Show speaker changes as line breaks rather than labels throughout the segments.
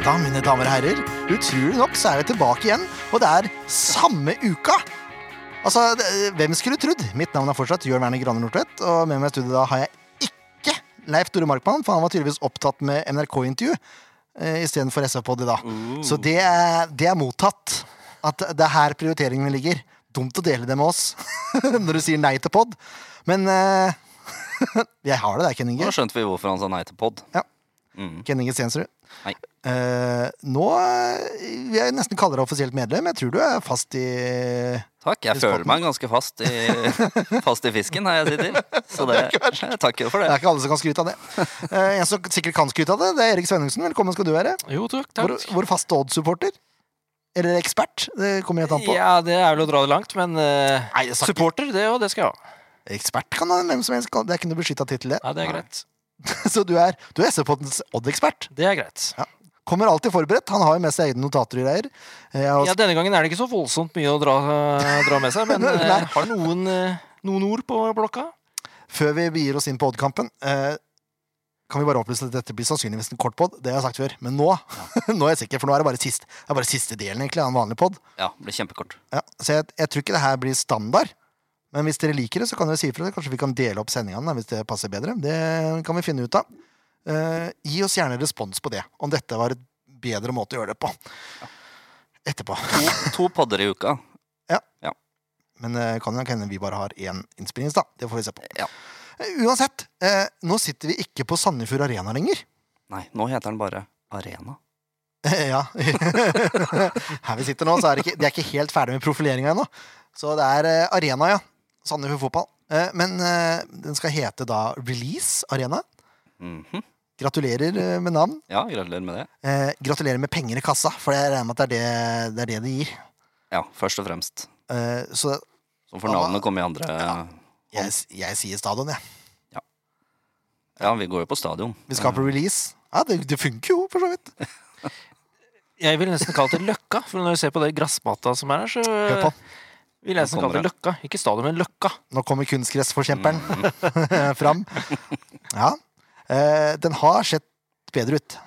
da, mine damer og herrer. Utrolig nok så er vi tilbake igjen, og det er samme uka! Altså, det- hvem skulle trodd? Mitt navn er fortsatt Jørn Werner Graner Nordtvedt, og med meg i studio da har jeg ikke Leif Tore Markmann, for han var tydeligvis opptatt med NRK-intervju eh, istedenfor SA-podi da. Så det er, det er mottatt. At det er her prioriteringene ligger. Dumt å dele det med oss når du sier nei til pod, men eh, jeg har det der, Ken
Nå
Inge.
skjønte vi hvorfor han sa nei til pod.
Ja.
Mm.
Ken Inge Stensrud.
Nei.
Eh, nå eh, vil jeg nesten kalle deg offisielt medlem. Jeg tror du er fast i
Takk. Jeg
Hvis podden-
føler meg ganske fast i, fast i fisken her jeg sitter. Så det, jeg takker for
Det
det.
er ikke alle som kan skryte av det. Eh, en som sikkert kan skryte av det, det er Erik Svennungsen. Velkommen skal du være.
Jo, takk.
Vår,
takk.
vår faste Odd-supporter. Eller ekspert. Det kommer helt an på.
Ja, det er vel å dra det langt, men eh,
Nei, det sa ikke-
supporter, det, og det skal jeg ha.
Ekspert kan han hvem som helst. kan- Det er ikke noe beskytta tittel, det.
Nei, det er greit.
Så du er, du er SV-poddens Odd-ekspert.
Det er greit.
Kommer alltid forberedt. Han har jo med seg egne notater og greier. Eh, Jeg har
Ja, Denne gangen er det ikke så voldsomt mye å dra, dra med seg, men eh,
Nei.
har noen, eh, noen ord på blokka.
Før vi begir oss inn på Odd-kampen, eh, kan vi bare opplyse at dette blir sannsynligvis en kort pod. Det har jeg sagt før. Men nå, nå er jeg sikker, for nå er det bare, sist, det er bare siste delen egentlig, av en vanlig pod.
Ja, det blir kjempekort.
Ja, så jeg, jeg tror ikke det her blir standard. Men hvis dere liker det, så kan dere si ifra. Kanskje vi kan dele opp sendingene da, hvis det passer bedre. Det kan vi finne ut av. Eh, gi oss gjerne respons på det, om dette var et bedre måte å gjøre det på. Etterpå.
To, to podder i uka.
Men det kan jo hende vi bare har én innspilling, da. Det får vi se på.
Ja.
Eh, Uansett, eh, nå sitter vi ikke på Sandefjord Arena lenger.
Nei, nå heter den bare Arena.
ja. Her vi sitter nå, så er det ikke, de er ikke helt ferdig med profileringa ennå. Så det er eh, Arena, ja. Sandefjord fotball. Eh, men eh, den skal hete da Release Arena.
Mhm.
Gratulerer eh, med navn.
Ja, gratulerer med det.
Eh, gratulerer med penger i kassa, for jeg regner med at det er det det, er det, det gir.
Ja, først og fremst.
Eh, så
Så får navnet komme i andre
jeg, s- jeg sier stadion, jeg.
Ja, vi går jo på stadion.
Vi skal på release. Ja, det, det funker jo, for så vidt.
Jeg vil nesten kalle det Løkka, for når du ser på det gressmatta som er her, så
Hør på.
eh, vil jeg nesten
Nå kommer
kalle det Løkka. Ikke stadion, men Løkka.
Nå kommer kunstgressforkjemperen fram. Ja. Eh, den har sett bedre ut.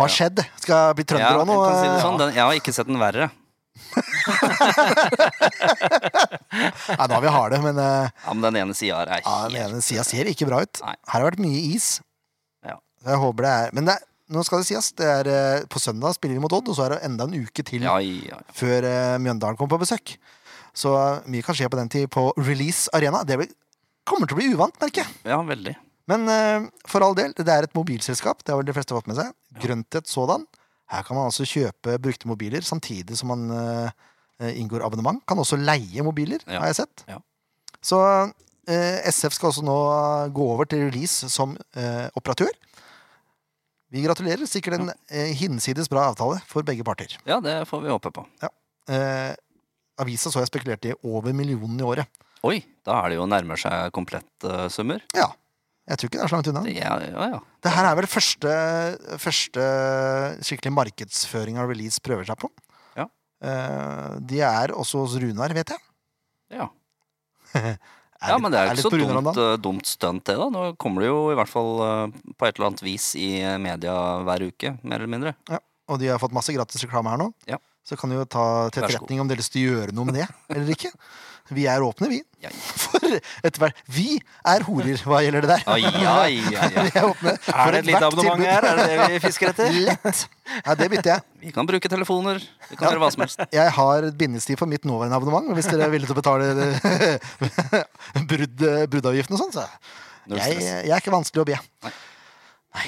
Har skjedd. Skal bli
Ja,
trønder
jeg,
òg nå.
kan si det
eh,
sånn. Den, jeg har ikke sett den verre.
Nei, da har vi harde, men eh,
Ja, Men den ene sida her er
ja, den
helt
ene sida ser ikke bra ut.
Nei.
Her har det vært mye is.
Ja.
Så jeg håper det er Men det er, nå skal det sies, det er eh, på søndag spiller vi mot Odd, og så er det enda en uke til
Ja, ja, ja.
før eh, Mjøndalen kommer på besøk. Så mye kan skje på den tid på Release Arena. Det blir, kommer til å bli uvant, merker jeg.
ja, veldig.
Men eh, for all del, det er et mobilselskap. Det har vel de fleste fått med seg. Grønthet sådan. Her kan man altså kjøpe brukte mobiler samtidig som man eh, inngår abonnement. Kan også leie mobiler,
Ja.
har jeg sett.
Ja.
Så eh, SF skal også nå gå over til release som eh, operatør. Vi gratulerer. Sikkert en eh, hinsides bra avtale for begge parter.
Ja, det får vi håpe på.
Eh, avisa så jeg spekulerte i over millionen i året.
Oi, da er det jo nærmer seg eh, komplettsummer.
Ja. Jeg tror ikke det er så langt unna.
Ja, ja, ja.
Det her er vel første, første skikkelig markedsføring av release prøver seg på.
Ja.
Eh, de er også hos Runar, vet jeg.
Ja.
Er
Ja,
litt-
men det er jo ikke
litt
så
på Runar om
dumt,
dagen.
eh, dumt stunt, det, da. Nå kommer det jo i hvert fall eh, på et eller annet vis i eh, media hver uke, mer eller mindre.
Og de har fått masse gratis reklame her nå.
Ja.
Så kan de jo ta til
Vær så
etterretning om de har lyst til å gjøre noe med det eller ikke. Vi er åpne, vi.
Ja, ja.
For etterhver Vi er horer, hva gjelder det der.
Ai, ai, ai, ai.
Vi er åpne for
Er det et lite
ethvert
abonnement
tilbud.
her? Er det det vi fisker etter?
Lett! Ja, det bytter jeg.
Vi kan bruke telefoner, vi kan gjøre hva som helst.
Jeg har et bindingstid for mitt nåværende abonnement. men Hvis dere er villige til å betale brudd, bruddavgiften og sånn, så
Null
jeg, eh,
stress.
jeg er ikke vanskelig å be. Nei.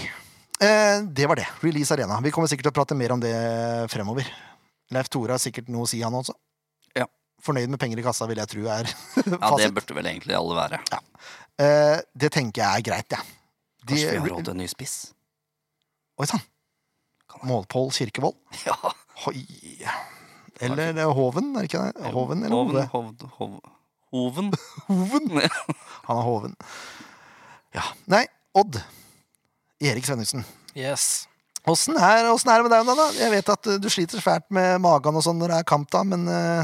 Eh, det var det. Release Arena. Vi kommer sikkert til å prate mer om det fremover. Leif Tore har sikkert noe å si, han også.
Ja.
Fornøyd med penger i kassa, vil jeg tro er
Ja, det
fasit.
burde vel egentlig alle være.
eh, det tenker jeg er greit, jeg. De- eh,
Kanskje vi har råd til en ny spiss?
Oi sann. Målpål Kirkevold.
Ja.
Hoi. Eller eh, Hoven, er det ikke det? Hoven eller Hove?
Hoven, hov, hoven.
Hoven.
Ja.
Han er hoven. Ja. Nei, Odd. Erik Svennungsen.
Yes.
Åssen er, åssen er det med deg om dagen? da? Jeg vet at eh, du sliter fælt med magen og sånn når det er kamp, da, men eh,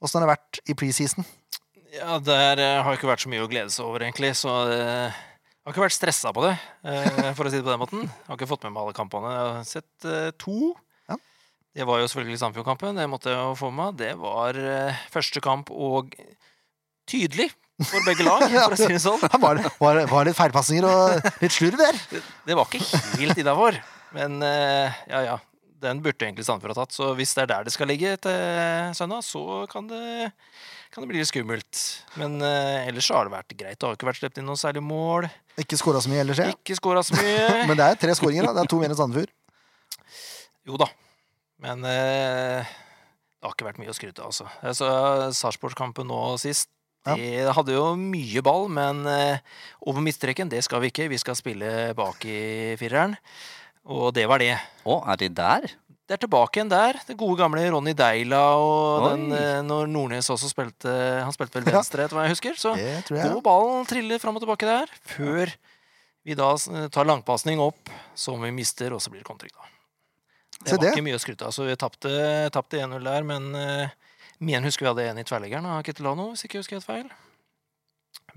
åssen har det vært i preseason?
Ja, der eh, har ikke vært så mye å glede seg over, egentlig. Så eh, Jeg har ikke vært stressa på det, eh, for å si det på den måten. Jeg har ikke fått med meg alle kampene. Jeg har sett eh, to.
Ja.
Det var jo selvfølgelig Sandefjord-kampen. Det måtte jeg jo få med meg. Det var eh, første kamp og tydelig for begge lag, for å si det sånn.
Det var, var, var litt feilpasninger og litt slurv der.
Det var ikke helt innafor, men eh, ja, ja. Den burde egentlig Sandefjord ha tatt, så hvis det er der det skal ligge til eh, søndag, så kan det, kan det bli litt skummelt. Men eh, ellers så har det vært greit. Det har ikke vært sluppet inn noen særlig mål.
Ikke skåra så mye ellers, jeg.
Ikke skåra så mye.
Men det er tre skåringer, da. Det er to mer enn Sandefjord.
Jo da, men eh, det har ikke vært mye å skryte av, altså. altså Sarpsborg-kampen nå sist,
Ja.
det hadde jo mye ball, men eh, over midtstreken, det skal vi ikke. Vi skal spille bak i fireren, og det var det.
Å, er de der?
Det er tilbake igjen der. Det gode gamle Ronny Deila og den,
Oi.
eh, når Nordnes også spilte Han spilte vel
Ja.
venstre, etter hva jeg husker. Så
Det tror jeg.
og ballen triller fram og tilbake der, før vi da s- tar langpasning opp, som vi mister, og så blir det kontring, da. Det
Se
var
det.
ikke mye å skryte av. Så vi tapte tapte 1-0 der, men eh, Mien husker vi hadde en i tverrleggeren av Kittelano, hvis ikke jeg husker helt feil.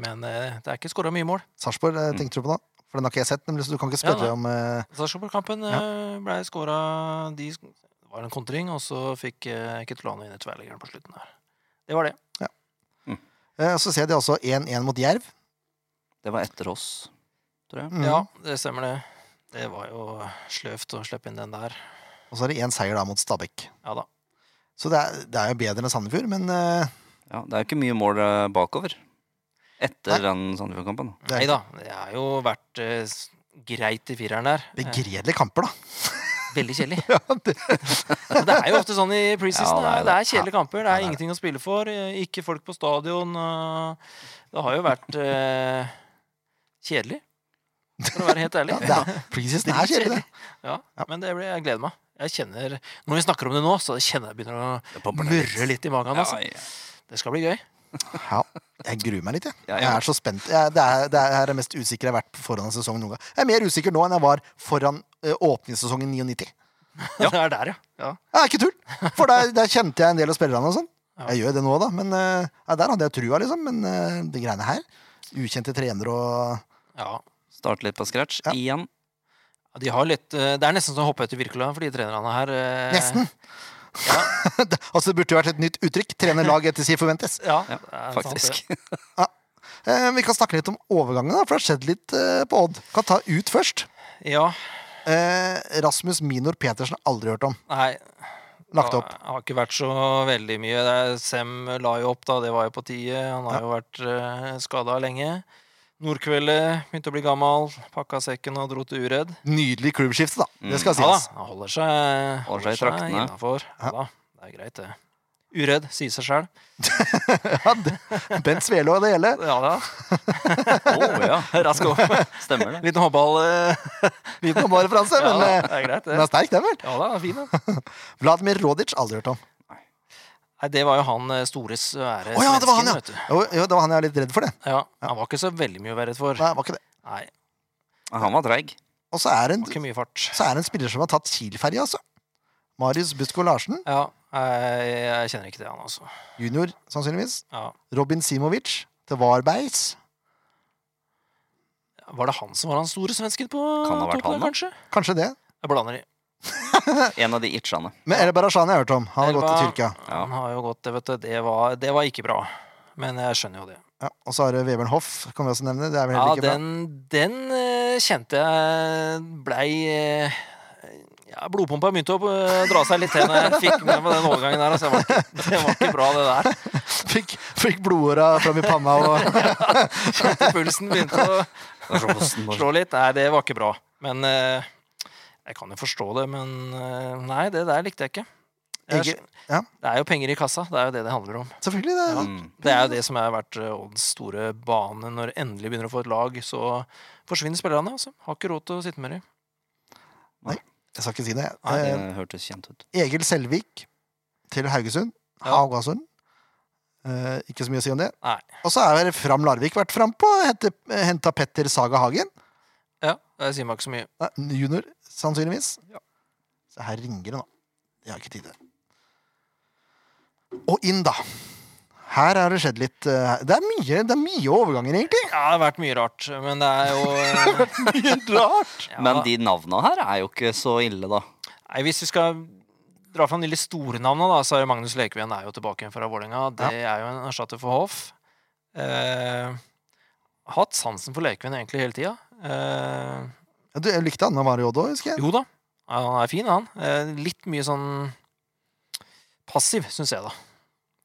Men eh, det er ikke skåra mye mål.
Sarpsborg eh, tenkte du på da? For den har ikke jeg sett, nemlig, så du kan ikke spørre
Ja,
om eh,
Sarpsborg-kampen eh, ble skåra De sk- det var en kontring, og så fikk uh, Kittelano inn i tverrleggeren på slutten der. Det var det.
eh, Så ser de altså 1-1 mot Jerv.
Det var etter oss, tror jeg.
Mm.
Ja, det stemmer, det. Det var jo sløvt å slippe inn den der.
Og så er det én seier da mot Stabæk.
Ja da.
Så det er, det er jo bedre enn Sandefjord, men eh,
Ja, det er jo ikke mye mål eh, bakover. Etter
Nei.
den Sandefjord-kampen.
Det er-
Nei da, det har jo vært eh, s- greit i fireren der. Eh,
begredelige kamper, da.
Veldig kjedelig.
det-
Men det er jo ofte sånn i preseason.
Ja, det er
det, er kjedelige kamper. Det
Ja,
er
det er
ingenting å spille for. eh, Ikke folk på stadion. eh, Det har jo vært eh, kjedelig, for å være helt ærlig.
Ja, det er, preseason er kjedelig, det.
Ja, men det blir, jeg gleder meg. Jeg kjenner, Når vi snakker om det nå, så kjenner jeg begynner å
Det popper ned
murre litt i magen.
Ja,
Altså.
ja.
Det skal bli gøy.
Ja, jeg gruer meg litt, jeg.
Ja, ja.
Jeg er så spent. Jeg, det, er, det er det mest usikre jeg har vært foran en sesong noen gang. Jeg er mer usikker nå enn jeg var foran eh, åpningssesongen 99.
det er der, ja. ja.
Ja, ikke tull! For der, der kjente jeg en del av spillerne og sånn.
Ja.
Jeg gjør det nå, da. Men eh, ja, der hadde jeg trua, liksom. Men eh, de greiene her Ukjente trenere og
ja.
Starte litt på scratch
Ja.
igjen.
Ja, De har litt, eh, det er nesten som å hoppe etter Wirkola for de trenerne her. eh,
Nesten!
Ja,
Altså, det burde jo vært et nytt uttrykk. Trene lag etter si forventes.
ja,
Ja,
det er sant,
Faktisk.
Eh, vi kan snakke litt om overgangene, da, for det har skjedd litt eh, på Odd. Kan ta ut først.
det. Ja,
Eh, Rasmus Minor Petersen har aldri hørt om.
nei.
Lagt
det
opp.
Har ikke vært så veldig mye. Det er, Sem la jo opp, da. Det var jo på tide. Han har jo vært uh, skada lenge. Nordkveldet begynte å bli gammal. Pakka sekken og dro til Uredd.
Nydelig klubbskifte, da. Det skal
Ja da,
sies.
han holder seg,
Holder seg i traktene.
innafor. Ja da, det er greit, det. Uredd, sier seg sjæl.
Ja, det- Bent Svele og det hele.
Ja da,
Å ja,
rask opp.
stemmer det.
Liten håndball. eh,
Liten og bare referanse,
Ja,
men
da,
eh,
det er greit,
den er
det.
sterk, den vel?
Ja da, fin, den.
Vladimir Rodic, aldri hørt om.
Nei, det var jo han eh, store svære
Å ja, det var han,
svensken,
ja.
vet du.
Jo, jo, det var han jeg var litt redd for, det.
Ja, han var ikke så veldig mye å være redd for.
Nei, var ikke det.
Nei,
Han var treig.
Og så er det en,
var ikke mye fart.
så er det en spiller som har tatt Kiel-ferja, altså. Marius Busko Larsen,
Ja, jeg, jeg kjenner ikke til han, altså.
junior sannsynligvis.
Ja.
Robin Simovic til Varbergs.
Var det han som var han store svensken på
Kan ha vært han,
toppen der,
da.
kanskje?
Kanskje det.
Jeg blander i.
En av de itchene.
Men El Barashani har jeg hørt om. Han har gått til
Elva-
Tyrkia.
Ja.
Han har jo gått, det, vet du. Det var, det var ikke bra. Men jeg skjønner jo det.
Ja, og så har du Vebjørn Hoff, kan vi også nevne. Det er vel
Ja,
heller ikke bra.
den, den eh, kjente jeg blei eh, ja, Blodpumpa begynte å eh, dra seg litt til når jeg fikk med meg den overgangen der. Altså, det, var ikke, det var ikke bra, det der.
Fikk, fikk blodåra fram i panna og
Kjente pulsen begynte å
Det er så hosten bare-
slå litt. Nei, det var ikke bra. Men eh, jeg kan jo forstå det, men eh, nei, det der likte jeg ikke. Jeg,
Ikke- ja.
Det er jo penger i kassa, det er jo det det handler om.
Selvfølgelig, det.
Mm.
Det er jo det som har vært eh, Odds store bane. Når endelig begynner å få et lag, så forsvinner spillerne. Altså. Har ikke råd til å sitte med dem.
Jeg skal ikke si det.
Nei,
Det
Eh,
hørtes kjent ut.
Egil Selvik til Haugesund.
Ja.
Haugasund. Eh, ikke så mye å si om det.
Nei.
Og så har Fram Larvik vært frampå. Henta Petter Saga Hagen.
Ja, det sier meg ikke så mye.
Nei, Junior, sannsynligvis.
Ja.
Så her ringer det nå. Det har jeg ikke tid til. Og inn, da. Her har det skjedd litt eh, Det er mye, det er mye overganger, egentlig.
Ja, det har vært mye rart, men det er jo eh,
Mye rart.
ja.
Men de navna her er jo ikke så ille, da.
Nei, Hvis vi skal dra fram de litt store navnene, da, så er jo Magnus Lekven er jo tilbake igjen fra Vålerenga. Det er jo en erstatter for Hoff. Eh, hatt sansen for Lekven egentlig hele tida. Eh,
Ja, Du jeg likte Anna Mario Oddo, husker jeg.
jo da, ja, han er fin, han. Eh, litt mye sånn passiv, syns jeg, da.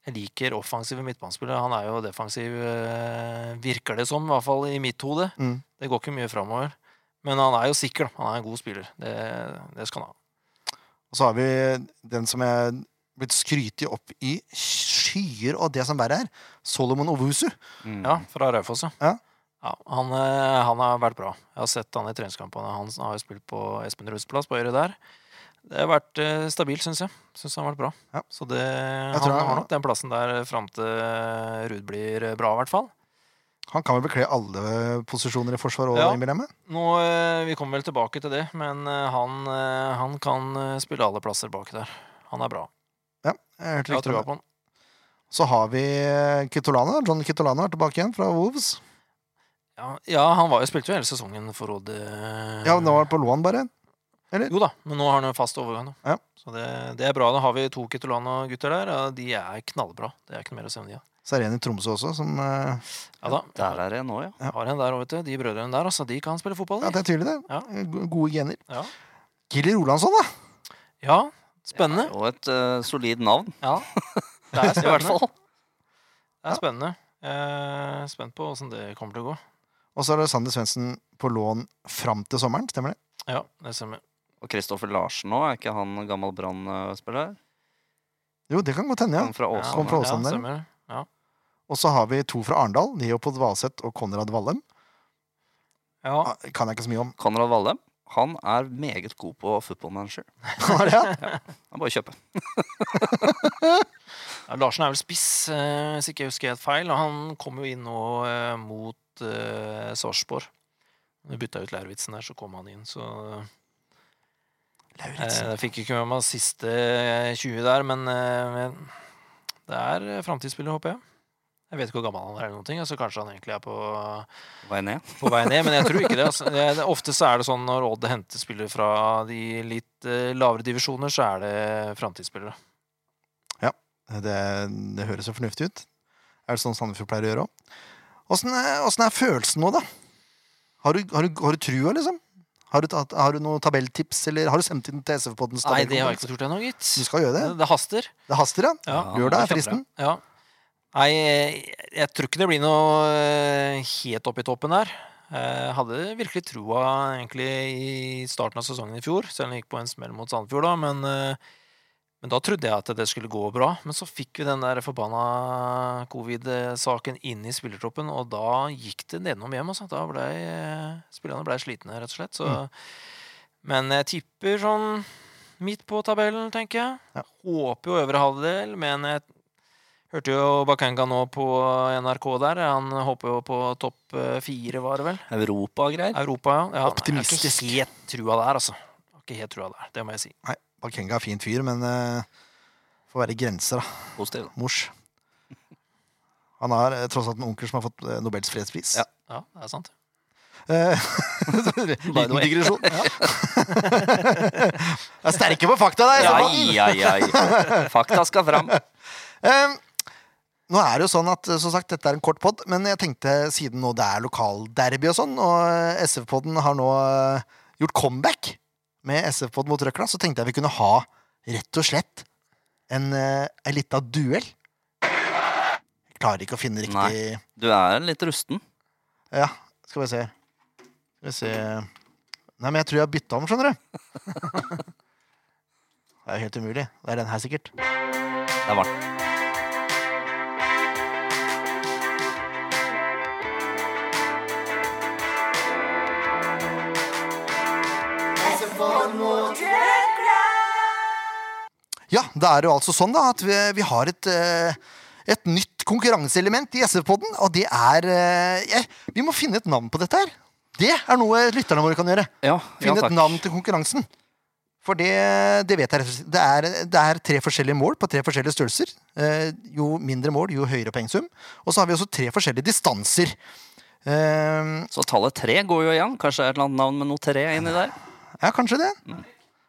Jeg liker offensive midtbanespillere. Han er jo defensiv, eh, virker det som, i hvert fall i mitt hode.
Mm.
Det går ikke mye framover. Men han er jo sikker, da. Han er en god spiller. Det, det skal han ha.
Og så har vi den som er blitt skrytet opp i skyer og det som verre er. Solomon Ovusu.
Mm.
Ja, fra Raufoss, ja.
Ja.
Ja, han, eh, han har vært bra. Jeg har sett han i treningskampene. Han har jo spilt på Espen Ruds plass, på Øyre der. Det har vært eh, stabilt, syns jeg. Syns han har vært bra.
Ja.
Så det,
tror
han
han-
har nok den plassen der fram til Ruud blir eh, bra, i hvert fall.
Han kan vel bekle alle posisjoner i forsvaret og
Ja.
innbiller jeg meg.
Nå, eh, vi kommer vel tilbake til det, men eh, han, eh, han kan eh, spille alle plasser bak der. Han er bra.
Jeg hørte
Jeg har
rykter om
trua
det.
på han.
Så har vi eh, Kitolana. John Kitolana er tilbake igjen fra Wolves.
Ja, ja, han var jo, spilte jo hele sesongen for Odd. eh,
Ja, nå var han på lån, bare.
Jo da, men nå har han en fast overgang. Da.
Ja.
Så det, det er bra. Da har vi to Kitolano-gutter der. og de er knallbra. Det er ikke noe mer å si om de. ja.
Så er det en i Tromsø også, som eh,
Ja da.
Der er det nå, ja.
ja.
Har en der òg, vet du. De brødrene der, altså. De kan spille fotball.
Ja,
De.
det er tydelig, det.
Ja.
Go- Gode gener.
Ja.
Gilly Rolandsson, da.
ja, spennende.
Og et eh, solid navn,
Ja. Det er
i hvert
spennende.
fall.
Det er spennende. Eh, spent på åssen det kommer til å gå.
Og så er det Sander Svendsen på lån fram til sommeren, stemmer det?
Ja, det stemmer.
Og Kristoffer Larsen nå, er ikke han gammel Brann-spiller?
Jo, det kan godt hende, ja.
Han fra
Ja,
kom fra Åsane
Åsane.
der.
Ja, stemmer. ja.
Og så har vi to fra Arendal, Leopold Valseth og Konrad Wallem.
ja.
Ah, Kan jeg ikke så mye om.
Konrad Wallem. Han er meget god på football manager.
Var det, ja?
Han bare kjøper.
Ja, Larsen er vel spiss, eh, hvis ikke jeg husker helt feil. Og han kom jo inn nå eh, mot eh, Sarpsborg. Når vi bytta ut Lauritzen der, så kom han inn. Så eh, jeg fikk ikke med meg siste eh, 20 der, men eh, men det er eh, framtidsspiller, håper jeg. Jeg vet ikke hvor gammel han er, eller noen ting, så altså, kanskje han egentlig er på,
Vei ned.
på vei ned. Men jeg tror ikke det. Altså. Det, det. Ofte så er det sånn når Odd henter spillere fra de litt eh, lavere divisjoner, så er det framtidsspillere.
Det, det høres jo fornuftig ut. Er det sånn Sandefjord pleier å gjøre òg? Åssen er åssen er følelsen nå, da? Har du, har du, har du trua, liksom? Har du, tatt- har du noen tabelltips, eller har du sendt inn til SV-poddens
Nei, det har jeg ikke gjort ennå, gitt.
Du skal gjøre det.
Det- Det haster.
Det haster, ja.
Ja,
Ja,
Lørdag er
det
fristen.
kjempe- Ja. Nei, jeg, jeg tror ikke det blir noe eh, helt opp i toppen der. Jeg hadde virkelig troa egentlig i starten av sesongen i fjor, selv om jeg gikk på en smell mot Sandefjord da, men, eh, men da trodde jeg at det skulle gå bra. Men så fikk vi den der forbanna covid-saken inn i spillertroppen, og da gikk det nedenom hjem, altså. Da ble eh, spillerne ble slitne, rett og slett. Så.
Mm.
Men jeg tipper sånn midt på tabellen, tenker jeg håper jo øvre halvdel, men jeg hørte jo Bakenga nå på NRK der. Han håper jo på topp eh, fire, var det vel?
Europa-greier.
Europa, ja. ja
Optimistisk.
Jeg har ikke helt trua der, altså. Jeg har Ikke helt trua der, det må jeg si.
Nei, Bakenga er fin fyr, men eh, får være grenser, da.
Positiv.
Mors. Han har eh, tross alt en onkel som har fått eh, Nobels fredspris.
Ja.
Ja, det er sant.
Eh,
By the
Liten
way.
digresjon. Jeg er sterke på fakta der!
Ja,
Stefan.
ja, ja. Fakta skal fram.
Eh, nå er det jo sånn at, eh, som sagt, dette er en kort pod, men jeg tenkte siden nå det er lokalderby og sånn, og eh, SF-podden har nå eh, gjort comeback med SF-podd mot Røkla, så tenkte jeg vi kunne ha rett og slett en, eh, en lita duell. Jeg klarer ikke å finne riktig
Nei. Du er litt rusten.
Ja, skal vi se. Skal vi se Nei, men jeg tror jeg har bytta om, skjønner du. Det er helt umulig. Det er den her, sikkert.
Det er varmt.
Ja, da er det jo altså sånn da at vi, vi har et, eh, et nytt konkurranseelement i SV-podden, og det er eh, jeg, Vi må finne et navn på dette her. Det er noe lytterne våre kan gjøre.
Ja, ja
Finne et
takk.
navn til konkurransen. For det, det vet jeg rett og slett. Det er, det er tre forskjellige mål på tre forskjellige størrelser. Eh, jo mindre mål, jo høyere pengesum. Og så har vi også tre forskjellige distanser. Eh,
Så tallet tre går jo igjen. Kanskje er et eller annet navn med noe tre inni der.
ja, kanskje det.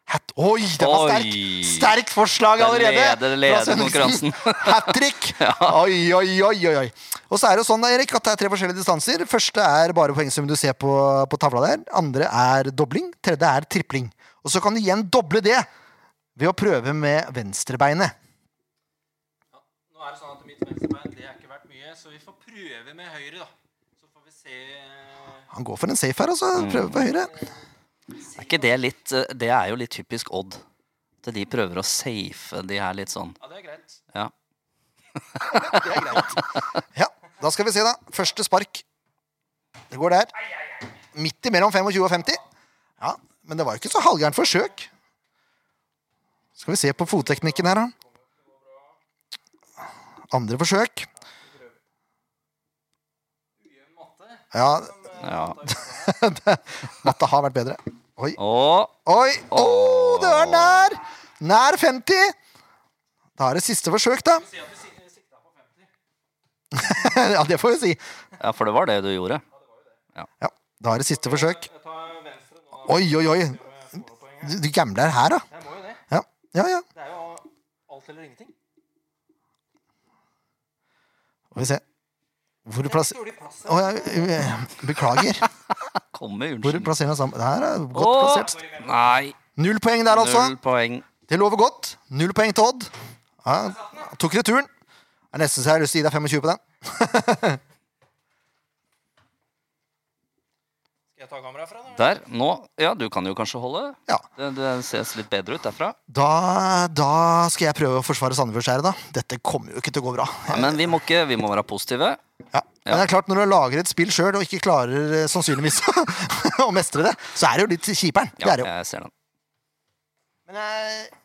Hat Oi, den var sterk!
Mm. Oi.
Sterkt forslag
Den
allerede!
leder- leder
fra Svenningsen.
konkurransen.
Hat trick! Oi, oi, oi, oi, oi. Og så er det jo sånn da, Erik, at det er tre forskjellige distanser. Første er bare poengsum du ser på, på tavla der. Andre er dobling. Tredje er tripling. Og så kan du igjen doble det ved å prøve med venstrebeinet.
Nå er det sånn at mitt venstrebein det er ikke verdt mye, så vi får prøve med høyre, da. Så får vi se
Han går for en safe her, altså. Prøver på høyre.
Er ikke det litt eh, Det er jo litt typisk Odd. At de prøver å safe de her litt sånn.
Ja, det er greit.
Ja.
Det er greit. Ja, da skal vi se, da. Første spark. Det går der. Midt imellom 25 og 50. Ja, men det var jo ikke så halvgærent forsøk. Skal vi se på fotteknikken her, da. Andre forsøk. Ja,
Ja.
matta har vært bedre. Oi,
Og
oi! Å, det var nær! Nær 50. Da er det siste forsøk, da. Ja, det får vi si.
Ja, for det var det du gjorde.
Ja, da er det siste forsøk.
Jeg tar venstre nå.
Oi, oi, oi. Du, du gambler her, da.
Jeg må jo det.
Ja, ja. ja.
Det er jo alt eller ingenting.
Får vi se. Hvor du plasser...
Gjorde de plass
Å, ja, eh, beklager.
Kom med
Hvor du
unnskyld.
plasserer den sammen. Det her er godt plassert.
Nei,
Null poeng der, altså.
null poeng.
Det lover godt. Null poeng til Odd. Ja, tok returen. Det er nesten så jeg har lyst til å gi deg 25 på den.
Skal jeg ta kameraet fra, da?
Der. Nå. Ja, du kan jo kanskje holde.
Ja.
Det, det ses litt bedre ut derfra.
Da, da skal jeg prøve å forsvare Sandefjordskjæret, da. Dette kommer jo ikke til å gå bra.
Nei, men vi må ikke Vi må være positive.
Ja. Men det er klart, når du lager et spill sjøl og ikke klarer eh, sannsynligvis å mestre det, så er det jo litt kjiperen. Det
Ja,
er det jo.
jeg ser den.
Men jeg...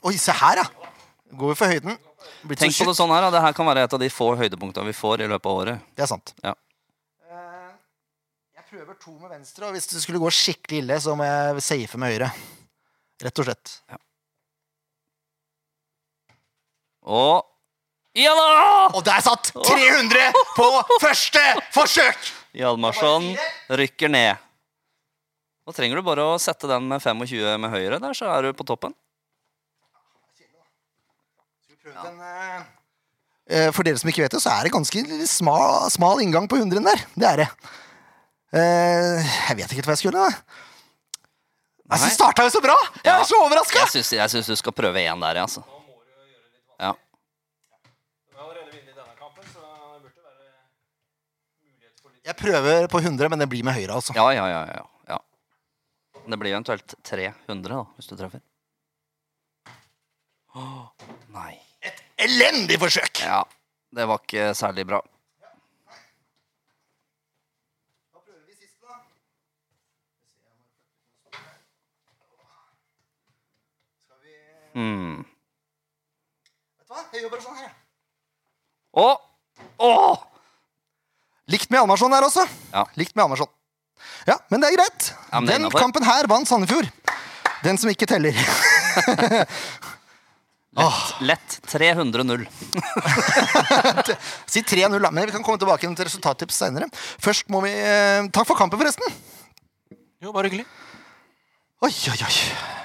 Oi, se her, ja! Går jo for høyden. Blitt så
Tenk på
tjukk.
det sånn her, da. Det her kan være et av de få høydepunktene vi får i løpet av året.
Det er sant.
Ja.
Eh, Jeg prøver to med venstre, og hvis det skulle gå skikkelig ille, så må jeg safe med høyre. Rett og slett.
Og Ja da!
Og der satt 300 på første forsøk!
Hjalmarsson rykker ned. Nå trenger du bare å sette den med 25 med høyre der, så er du på toppen.
Eh, For dere som ikke vet det, så er det ganske smal, smal inngang på hundren der. Det er det. Eh, Jeg vet ikke helt hva jeg skulle, da. Altså,
Nei.
det starta jo så bra! Jeg
Ja.
er så overraska!
Jeg syns, jeg syns du skal prøve én der, jeg, altså. Ja.
Vi har allerede vunnet denne kampen, så det burde være mulighet for litt
Jeg prøver på 100, men det blir med høyre, altså.
Ja, ja, ja. ja, ja. Men Det blir jo eventuelt 300, da, hvis du treffer. Åh, nei.
Elendig forsøk!
Ja, det var ikke særlig bra. Hmm.
Jeg gjør bare sånn her, jeg.
Å! Å!
Likt med Hjalmarsson der også.
Ja.
Likt med Hjalmarsson. Ja, men det er greit.
Ja, men det er
Den
innenfor.
kampen her vant Sandefjord. Den som ikke teller.
Lett 300-0.
Si 3-0, da. Men vi kan komme tilbake igjen til resultattips seinere. Først må vi eh, Takk for kampen, forresten.
Jo, bare hyggelig.
Oi, oi, oi.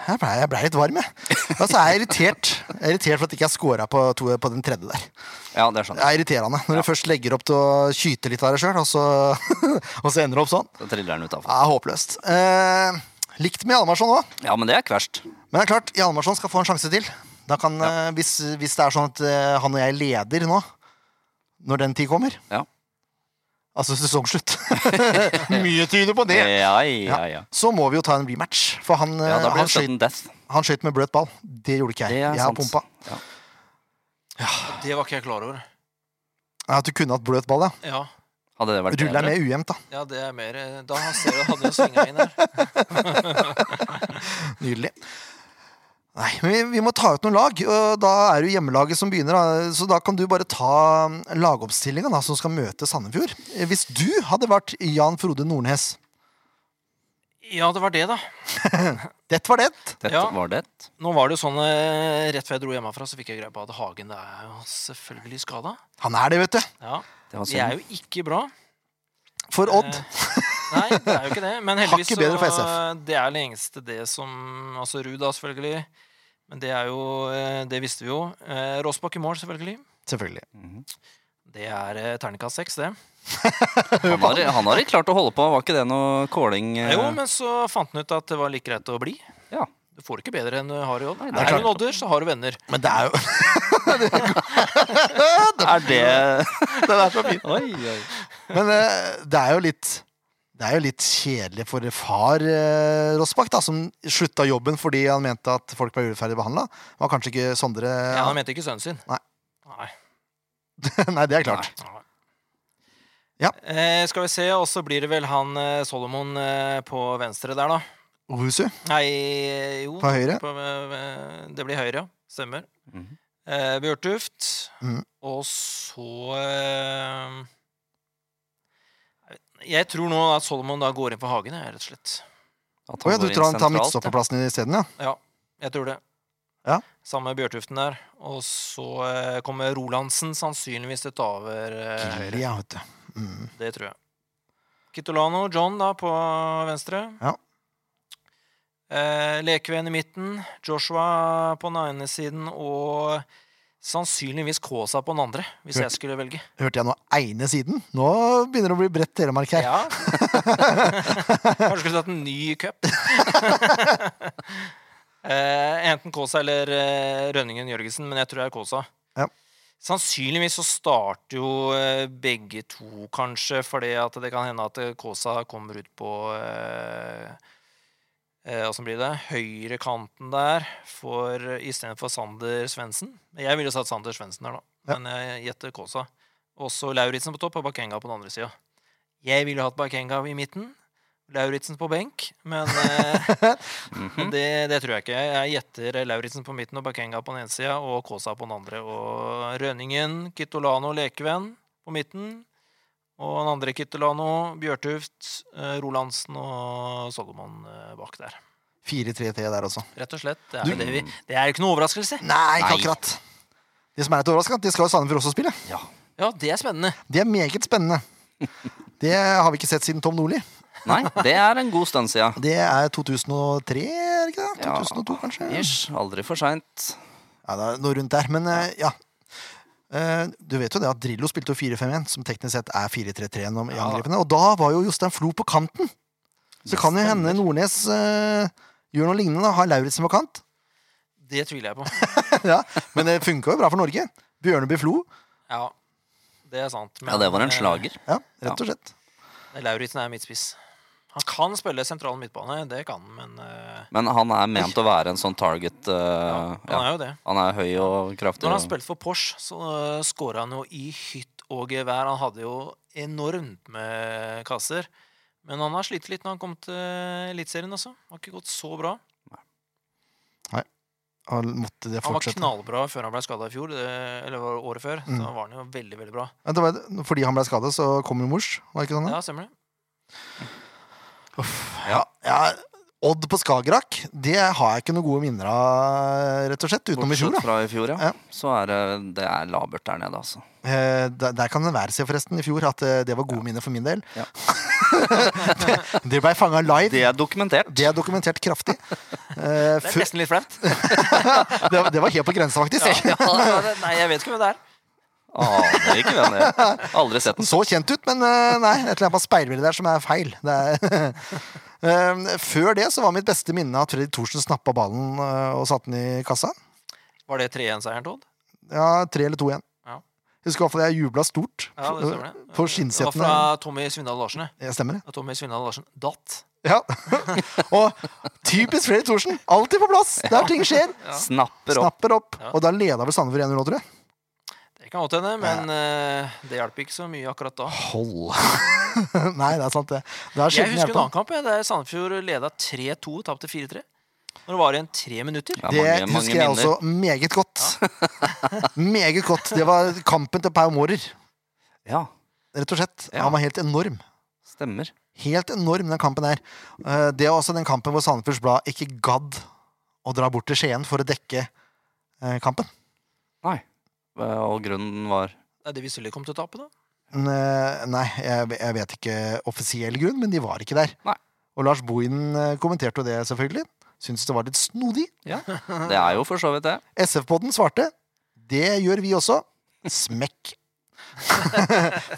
Jeg blei ble litt varm, jeg. Altså, jeg er irritert Jeg er irritert for at jeg ikke har scora på, to- på den tredje der.
Ja, det skjønner jeg.
Det er irriterende når du først legger opp til å kyte litt av deg sjøl, og, så- og så ender du opp sånn.
Da triller den utafor.
Det er håpløst. Eh, likt med Hjalmarsson òg.
Ja, men det er ikke verst.
Men det er klart, Hjalmarsson skal få en sjanse til. Da kan, eh, hvis, hvis det er sånn at eh, han og jeg leder nå, når den tid kommer
Ja.
Altså sesongslutt. Mye tyder på det.
Ja, ja, ja.
Så må vi jo ta en rematch, for han,
Ja,
ja,
da blir
han,
det
skøyt,
sudden death.
han skøyt med bløt ball. Det gjorde ikke
Det
jeg. Jeg
er
har
sant.
pumpa.
Ja.
Det var ikke jeg klar over.
Ja, At du kunne hatt bløt ball, ja.
Ja,
Hadde det vært
Rulla
bedre?
med ujevnt, da.
ja det er mer eh, Da ser du hadde jeg svinga inn her.
Nydelig. Nei, men vi, vi må ta ut noen lag, og da er det jo hjemmelaget som begynner. Da. Så da kan du bare ta lagoppstillinga da, som skal møte Sandefjord. Hvis du hadde vært Jan Frode Nordnes
Ja, det var det, da.
Dette var det.
Dette
Ja.
var det.
Nå var det jo sånn eh, Rett før jeg dro hjemmefra, så fikk jeg greie på at Hagen det er jo selvfølgelig skada.
Han er det, vet du.
Ja,
Det var
det Altså, er
synd.
jo ikke bra.
For Odd.
Eh, Nei, det er jo ikke det. Men heldigvis
Hakket bedre for SF.
det er lengste det som Altså Ruud, da, selvfølgelig. Men det er jo eh, Det visste vi jo. Eh, Rossbakk i mål, selvfølgelig.
Selvfølgelig.
Mhm.
Det er eh, terningkast seks, det.
Han har, han har ikke klart å holde på. Var ikke det noe calling? eh?
Jo, men så fant han ut at det var like greit å bli.
Ja.
Du får ikke bedre enn du har i Odd.
Nei, det er
Er du
klart.
en odder, så har du venner.
Men det er jo
Er det
Den er så fin.
Oi, oi.
Men eh, det er jo litt Det er jo litt kjedelig for far eh, Rossbakk, da, som slutta jobben fordi han mente at folk ble urettferdig behandla. Var kanskje ikke Sondre
Ja, han mente ikke sønnen sin.
Nei.
Nei.
Nei, det er klart.
Nei.
Ja.
Eh, skal vi se, og så blir det vel han eh, Solomon eh, på venstre der, da.
Ohusu
Nei, eh, jo
på høyre.
på, eh, Det blir høyre, ja. Stemmer.
Mhm.
Eh, Bjørtuft.
Mhm.
Og så eh, Jeg tror nå at Solomon da går inn for Hagen, jeg, rett og slett.
At
Å ja, du
går inn
tror han tar
sentralt, ja.
midtstopperplassen isteden, ja?
Jeg tror det.
Ja.
Samme Bjørtuften der. Og så eh, kommer Rolandsen sannsynligvis til å ta over eh, høyre.
Gilly, ja, vet du. Mm.
Det tror jeg. Kitolano, John da på venstre.
Ja.
Eh, Lekven i midten, Joshua på den ene siden og sannsynligvis Kaasa på den andre, hvis
Hørte-
jeg skulle velge.
Hørte jeg nå ene siden? Nå begynner det å bli bredt Telemark her.
Ja. Kanskje skulle tatt en ny cup. eh, enten Kaasa eller eh, Rønningen Jørgensen, men jeg tror det er Kaasa.
Ja.
Sannsynligvis så starter jo eh, begge to, kanskje, fordi at det kan hende at eh, Kaasa kommer ut på eh, eh, Åssen blir det? Høyrekanten der for, istedenfor Sander Svendsen. Jeg ville satt Sander Svendsen der, da,
Ja.
men eh, jeg gjetter Kaasa. Også Lauritzen på topp og Bakenga på den andre sida. Jeg ville hatt Bakenga i midten. Lauritzen på benk, men eh,
Mhm.
det, det tror jeg ikke. Jeg gjetter Lauritzen på midten og Bakenga på den ene sida og Kaasa på den andre. Og Rønningen, Kitolano, Lekeven på midten. Og den andre Kitolano, Bjørtuft, eh, Rolandsen og Solomon eh, bak der.
4-3-3 der også.
Rett og slett. Det er,
Du-
jo det vi, det er jo ikke noe overraskelse.
Nei, ikke
Nei.
akkurat. De som er litt overraska, de skal jo Sandefjord også spille.
Ja.
Ja, det er spennende.
De er meget spennende. Det har vi ikke sett siden Tom Nordli.
Nei, det er en god stund sia.
Det er 2003, er det ikke det?
Ja.
2002, kanskje?
Ish. Aldri for seint.
Ja, det er noe rundt der, men eh, ja. Eh, Du vet jo det at Drillo spilte jo 4-5-1, som teknisk sett er 4-3-3 gjennom i
Ja.
angrepene. Og da var jo Jostein Flo på kanten! Så
Det
kan jo
stemmer.
hende Nordnes eh, gjør noe lignende. da. Har Lauritzen på kant.
Det tviler jeg på.
ja. Men det funka jo bra for Norge. Bjørneby Flo.
Ja, det er sant.
Ja, det var en
eh,
slager.
Ja, rett og slett.
Lauritzen er midtspiss. Han kan spille sentral midtbane, det kan han, men eh,
Men han er ment å være en sånn target. eh,
han
ja.
er jo det.
Han er høy og kraftig.
Når han
og-
spilte for Porsche, så uh, skåra han jo i hytt og gevær. Han hadde jo enormt med kasser. Men han har slitt litt når han kom til eh, Eliteserien også. Har ikke gått så bra.
Han måtte det
Han var
fortsette.
knallbra før han ble skada i fjor, det, eller var det året før.
Mm.
Da var han jo veldig, veldig bra.
Ja, det var, fordi han ble skada, så kom jo mors. Var det ikke sånn? da?
Ja, stemmer det.
Ja. ja. Odd på Skagerrak, det har jeg ikke noen gode minner av, rett og slett. Utenom i fjor, da.
Bortsett fra i fjor, ja.
Ja.
Så er det, det er labert der nede, altså.
Eh, der, der kan det være seg forresten i fjor at eh, det var gode minner for min del.
Ja.
det, det ble fanga live.
Det
Det,
er dokumentert.
er dokumentert kraftig. Eh,
Det
fu-
er nesten litt flaut.
det, var- det var helt på grensa, faktisk.
Ja, ja, det- nei, jeg vet ikke hvem det er.
Aner ikke hvem det er. Aldri sett den.
Så kjent ut, men eh, nei, et eller annet på speilbildet der som er feil. Det er Eh, Før det så var mitt beste minne at Freddy Thorsen snappa ballen eh, og satte den i kassa.
Var det 3-1-seieren, Todd?
Ja, tre eller to igjen.
Ja.
Husker i hvert fall jeg jubla stort.
Ja, det stemmer det.
På
Det var
skinnsetene.
fra Tommy Svindal Larsen. det.
Ja, stemmer det.
Da Tommy Svindal Larsen datt.
Ja. og typisk Freddy Thorsen. Alltid på plass der ting skjer.
Ja.
Snapper opp.
Snapper opp.
Ja.
Og da leda vel Sandefjord 1-0, tror jeg.
Det kan godt hende, men eh, det hjalp ikke så mye akkurat da.
Hold. Nei, det er sant, det. Det er
Jeg
sjelden
husker en
hjelpa.
annen kamp jeg, der Sandefjord leda 3-2 og tapte 4-3. Når det var igjen tre minutter.
Ja,
Det
mange, mange
husker jeg
minner.
også meget godt. meget godt. Det var kampen til Pau Mårer,
Ja,
rett og slett.
Ja.
Han var helt enorm.
Stemmer.
Helt enorm, den kampen der. Eh, Det er også den kampen hvor Sandefjords Blad ikke gadd å dra bort til Skien for å dekke eh, kampen.
Nei. Eh, Og grunnen var
Er det Visuelli kom til å tape, da?
Men, eh, Nei, jeg, jeg vet ikke offisiell grunn, men de var ikke der.
Nei.
Og Lars Bohin eh, kommenterte jo det, selvfølgelig. Syntes det var litt snodig.
Det er jo for så vidt det.
SF-podden svarte. Det gjør vi også. Smekk.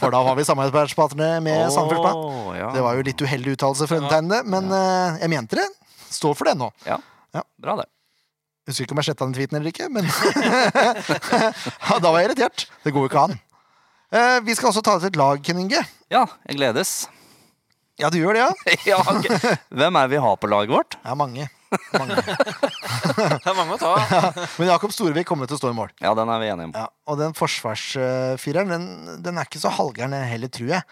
for da var vi samarbeidspartnere med Sandefjords Blad.
Åh, ja.
Eh, Det var jo litt uheldig uttalelse fra undertegnede, men eh, jeg mente det. Står for det nå.
Bra, det.
Husker ikke om jeg sletta den tweeten eller ikke, men ja, Da var jeg irritert. Det går jo ikke an. Eh, vi skal også ta ut et lag, Ken Inge.
Ja, jeg gledes.
Ja, du gjør det, ja?
ja, ok. Hvem er det vi har på laget vårt?
Ja, mange. mange.
Det er mange å ta.
Men Jakob Storevik kommer til å stå i mål.
Ja, den er vi enige om.
Ja, og den forsvarsfireren, den, den er ikke så halvgæren den heller, tror jeg.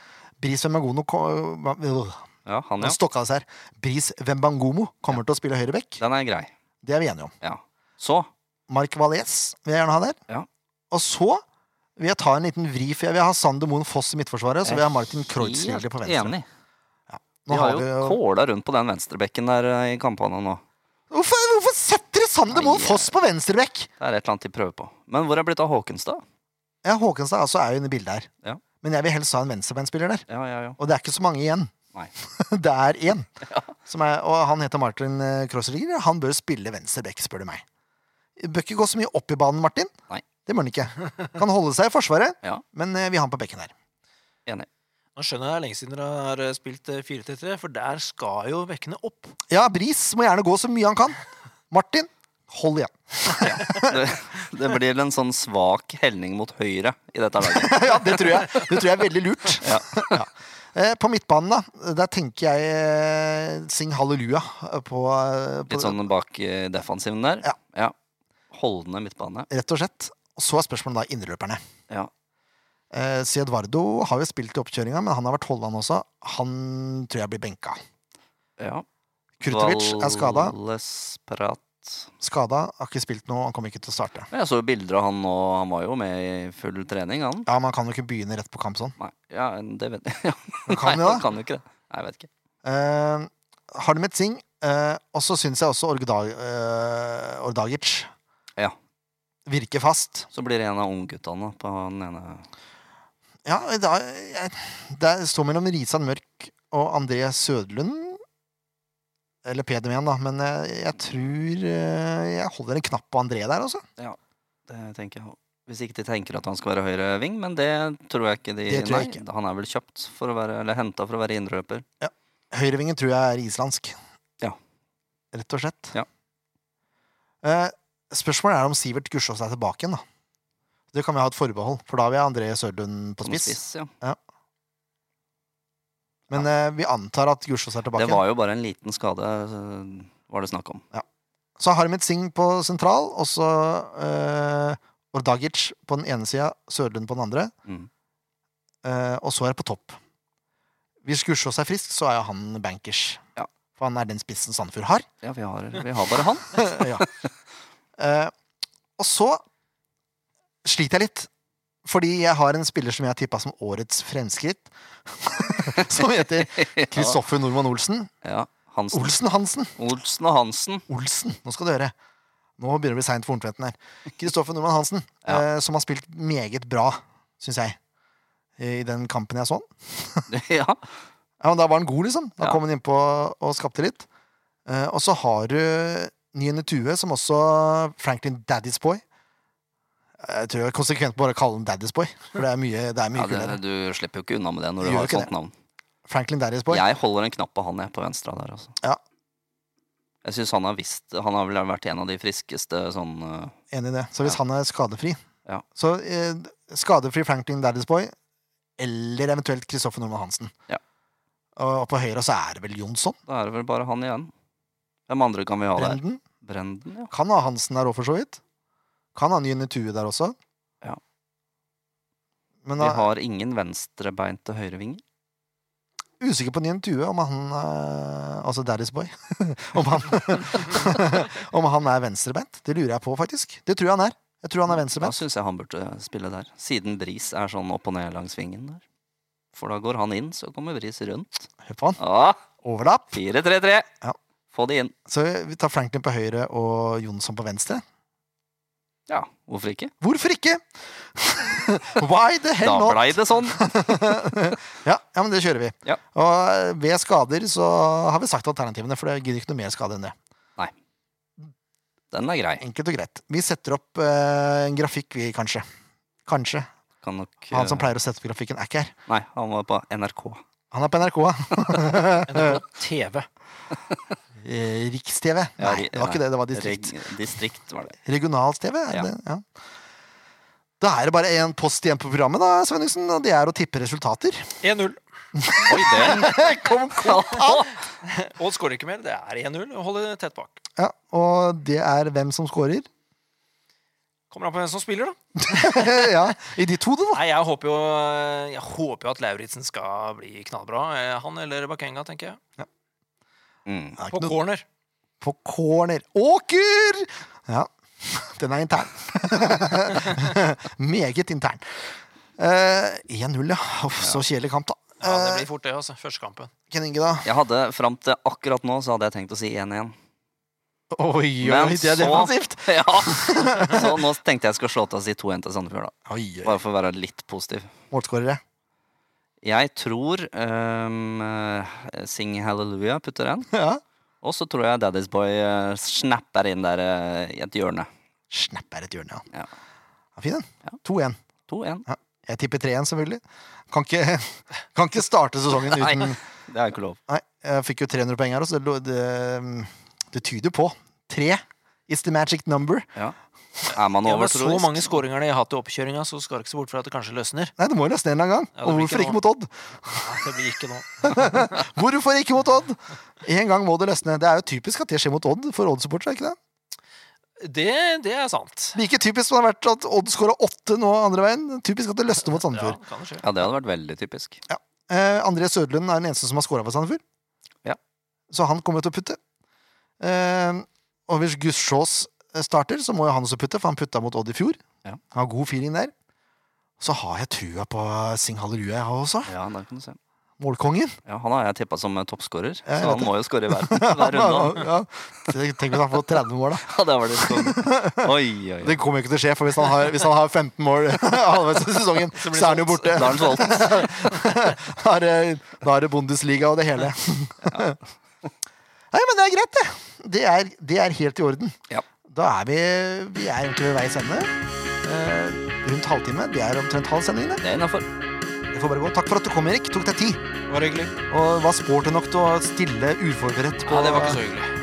Bris Wembangomo ko- hva- øh,
Ja, han,
Nå
ja.
stokka det seg her. Bris Wembangomo kommer til å spille høyreback.
Den er grei.
Det er vi enige om.
Ja. Så
Mark Valais vil jeg gjerne ha der.
Ja.
Og så vil jeg ta en liten vri, for jeg vil ha Sander Moen Foss i Midtforsvaret. Og så vil jeg ha Martin Kreuzlegger på venstre.
eh, Enig.
Nå
De har jo kåla rundt på den venstrebekken der eh, i kampene nå.
Hvorfor, hvorfor setter dere Sander Moen
Nei,
Foss på venstrebekk?
Det er et eller annet de prøver på. Men hvor er det blitt av Håkenstad?
Ja, Håkenstad altså er jo inne i bildet her.
Ja.
Men jeg vil helst ha en venstrebeinspiller der.
Ja, ja, ja.
Og det er ikke så mange igjen.
Nei.
det er én. Som er, og han heter Martin Krosserigger. Han bør spille venstrebekk, spør du meg. Bør ikke gå så mye opp i banen, Martin.
Nei.
Det må han ikke. Kan holde seg i forsvaret,
Ja.
men eh, vi har han på bekken her.
Enig.
Nå skjønner jeg det er lenge siden dere har eh, spilt eh, 4-3-3, for der skal jo bekkene opp.
Ja, Bris må gjerne gå så mye han kan. Martin, hold igjen.
Det, det blir en sånn svak helning mot høyre i dette laget.
ja, det tror jeg. Det tror jeg er veldig lurt.
Ja.
Ja. Eh, På midtbanen, da, der tenker jeg eh, Sing halleluja eh, på, eh, på
Litt sånn bak eh, defensiven der.
Ja.
Holdende midtbane.
Rett og slett. Og så er spørsmålet da innløperne.
Ja.
Eh, Si Eduardo har jo spilt i oppkjøringa, men han har vært Holland også. Han tror jeg blir benka.
ja.
Krutovic er skada.
Vallesprat.
Skada, har ikke spilt noe, han kommer ikke til å starte.
Jeg så jo bilder av han nå. Han var jo med i full trening, han.
Ja, Man kan jo ikke begynne rett på kamp sånn.
Nei, ja, det vet jeg.
Men kan
Nei,
jo
han
det.
kan jo ikke det. Nei, jeg vet ikke.
Eh, Harmet Singh. Eh, og så syns jeg også Orgdag, eh, Ordagic
Ja.
virker fast.
Så blir det en av ungguttene på den ene
Ja, da, jeg, det står mellom Risan Mørk og André Sødlund. Eller Pedem igjen, da. Men jeg, jeg tror eh, jeg holder en knapp på André der, altså.
Det tenker jeg også. Hvis ikke de tenker at han skal være høyre ving, men det tror jeg ikke de
Det tror jeg
Nei, Han er vel kjøpt for å være, eller henta for å være indreløper.
Høyrevingen tror jeg er islandsk.
Ja.
Rett og slett.
Ja.
Eh, spørsmålet er om Sivert Gussiås er tilbake igjen, da. Det kan vi ha et forbehold, for da vil jeg ha André Sødlund på
som
spiss.
ja.
Men eh, vi antar at Gussiås er
Det
tilbake.
var jo bare en liten skade, eh, var det snakk om.
Så Harmet Singh på sentral, og så eh, Ordagic på den ene sida, Sødlund på den andre.
Mm.
Eh, og så er det på topp. Hvis Gussiås er frisk, så er jo han bankers.
Ja.
For han er den spissen Sandefjord har.
Ja, vi har, vi har bare han.
ja. Eh, og så sliter jeg litt. Fordi jeg har en spiller som jeg har tippa som årets fremskritt. som heter Kristoffer Normann Olsen.
Ja, Hansen.
Olsen Hansen.
Olsen og Hansen.
Olsen, nå skal du høre. Nå begynner det å bli seint for Horntvedten her. Kristoffer Normann Hansen,
Ja.
eh, som har spilt meget bra, syns jeg, i den kampen jeg så han.
ja.
Ja, men da var han god, liksom. Da
Ja.
kom han innpå og skapte litt. Eh, og så har du Niene Tue, som også Franklin Daddy's Boy. Jeg tror jeg er konsekvent på bare å kalle ham Daddy's Boy. For det er mye, det er mye
ja det,
kulere.
du slipper jo ikke unna med det
Du
når du
gjør
har et
ikke
sånt navn.
Franklin Daddy's Boy.
Jeg holder en knapp på han jeg på venstre der, altså.
Ja.
Jeg syns han har visst Han har vel vært en av de friskeste sånn eh,
Enig i det. Så hvis han er skadefri
Ja.
Så eh, skadefri Franklin Daddy's Boy, eller eventuelt Kristoffer Normann Hansen.
Ja.
Og, og på høyre så er det vel Jonsson?
Da er det vel bare han igjen. Hvem andre kan vi ha der?
Brenden?
Brenden, ja.
Kan ha Hansen der òg, for så vidt. Kan ha Niene Tue der også.
Ja.
Men
Vi
da,
har ingen venstrebeinte høyrevinger.
usikker på Nien Tue om han eh, Altså Daddy's Boy. om, han, om han er venstrebeint. Det lurer jeg på, faktisk. Det tror jeg han er. Jeg tror han er
Da
venstrebeint.
syns jeg han burde spille der. Siden Bris er sånn opp og ned langs vingen der. For da går han inn, så kommer Bris rundt.
Hør på han.
Ja,
Overlapp.
4-3-3.
Ja.
Få det inn.
Så vi tar Franklin på høyre og Jonsson på venstre.
Ja, hvorfor ikke?
Hvorfor ikke? Why the hell
da
not?
blei det sånn.
ja, ja, men det kjører vi.
Ja.
Og eh, ved skader så har vi sagt alternativene, for det gidder ikke noe mer skade enn det.
Den er grei.
Enkelt og greit. Vi setter opp eh, en grafikk, vi, kanskje. Kanskje.
Kan nok
Han som
eh,
pleier å sette opp grafikken, er ikke her.
Nei, han var på NRK.
Han er på NRK.
NRK TV.
Eh, Riks-TV.
Ja,
Nei,
ri-
det var ikke
nei.
det. Det var distrikt.
Reg- distrikt var det.
Regionals-TV? er
Ja.
det- Ja. Da er det bare én post igjen på programmet, da, Svenningsen, og det er å tippe resultater.
1-0.
Oi, den!
Kom, kom.
Og skårer ikke mer. Det er 1-0. og Holder tett bak.
Ja, og det er hvem som scorer.
Kommer an på hvem som spiller, da.
ja, I ditt hode, da.
Nei, Jeg håper jo, eh, jeg håper jo at Lauritzen skal bli knallbra. Eh, Han eller Bakenga, tenker jeg.
Mm.
Det er ikke
På
noe-
corner.
På corner. Åker! Ja, den er intern. Meget intern. Eh, 1-0, ja. Uff, så kjedelig kamp, da.
Ja, Det
Eh,
blir fort, det. altså. Første kampen.
Ken Inge, da?
Jeg hadde, Fram til akkurat nå så hadde jeg tenkt å si 1-1.
Oi,
Men
oi, det er
så-
defensivt!
Ja. Så nå tenkte jeg skal slå til å si 2-1 til Sandefjord, da.
Oi, oi.
Bare for å være litt positiv.
Målskårere.
Jeg tror ehm, eh, Sing Hallelujah putter en.
Ja.
Og så tror jeg Daddy's Boy eh, snapper inn der eh, i et hjørne.
Snapp er et hjørne, ja.
Ja.
ja fin den.
Ja.
2-1.
2-1.
Jeg tipper 3-1, selvfølgelig. Kan ikke, kan ikke starte sesongen uten
Nei. Det er jo ikke lov.
Nei, jeg fikk jo 300 poeng her også. Det, lå- det, mm, det tyder på. Tre is the magic number.
Ja. Er man
Ja, med så
overtroisk?
mange skåringer de har hatt i oppkjøringa, så skal det ikke se bort fra at det kanskje løsner.
Nei, det må jo løsne en eller annen gang.
Ja, det
og
blir
hvorfor
ikke
ikke
noe.
mot Odd? Ah.
Nei, det blir ikke nå.
Hvorfor ikke mot Odd? En gang må det løsne. Det er jo typisk at det skjer mot Odd for Odd-supportere. er ikke det?
Det, det er sant.
Like typisk som det har vært at Odd skåra åtte nå andre veien. Typisk at det løsner mot
Ja,
Sandefjord.
kan det skje.
Ja, det hadde vært veldig typisk.
Eh, André Sødlund er den eneste som har scora for Sandefjord.
Ja.
Så han kommer til å putte. Eh, og hvis Gussiås starter, så må jo han også putte, for han putta mot Odd i fjor.
Ja.
Han har god feeling der. Så har jeg trua på Sing Halleluja, jeg også.
Ja, der kan du se.
Målkongen.
Ja, han har jeg tippa som eh, toppskårer,
Ja, jeg vet
så han
det.
må jo skåre i verden hver runde.
ja. Tenk hvis han får 30 mål, da.
Ja, det var det sånn. Oi, oi, oi.
Det kommer jo ikke til å skje, for hvis han har, hvis han har 15 mål halvveis i sesongen, så,
blir
er han jo borte.
Da er han solgt.
Da er det- da er det Bundesliga og det hele. Nei, men det er greit, det. Det er, det er helt i orden.
Ja.
Da er vi Vi er egentlig ved veis ende. Eh, rundt halvtime. Det er omtrent halv sending, det.
Det er innafor.
Det får bare gå. Takk for at du kom, Erik. Tok deg tid.
Det var hyggelig.
Og var sporty nok til å stille uforberedt på
Ja, det var ikke så hyggelig.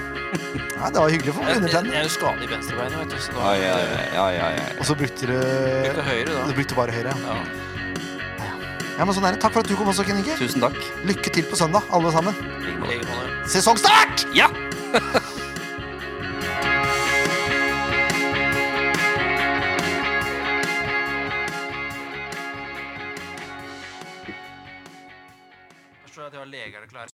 Nei, det var hyggelig for
Jeg, jeg,
undertegnede.
jeg er jo skadet i venstrebeinet, vet du. Så da
Oi, oi, oi, oi, oi, oi.
Og så brukte
Litt
du
høyere,
Du
da.
brukte bare høyre.
Ja.
Ja, men sånn er det. Takk for at du kom også, Ken Inge.
Tusen takk.
Lykke til på søndag, alle sammen.
I like måte.
Legger på det.
Sesongstart!
Ja!
Forstår at jeg har leger klar.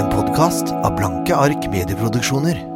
En podkast av Blanke ark medieproduksjoner.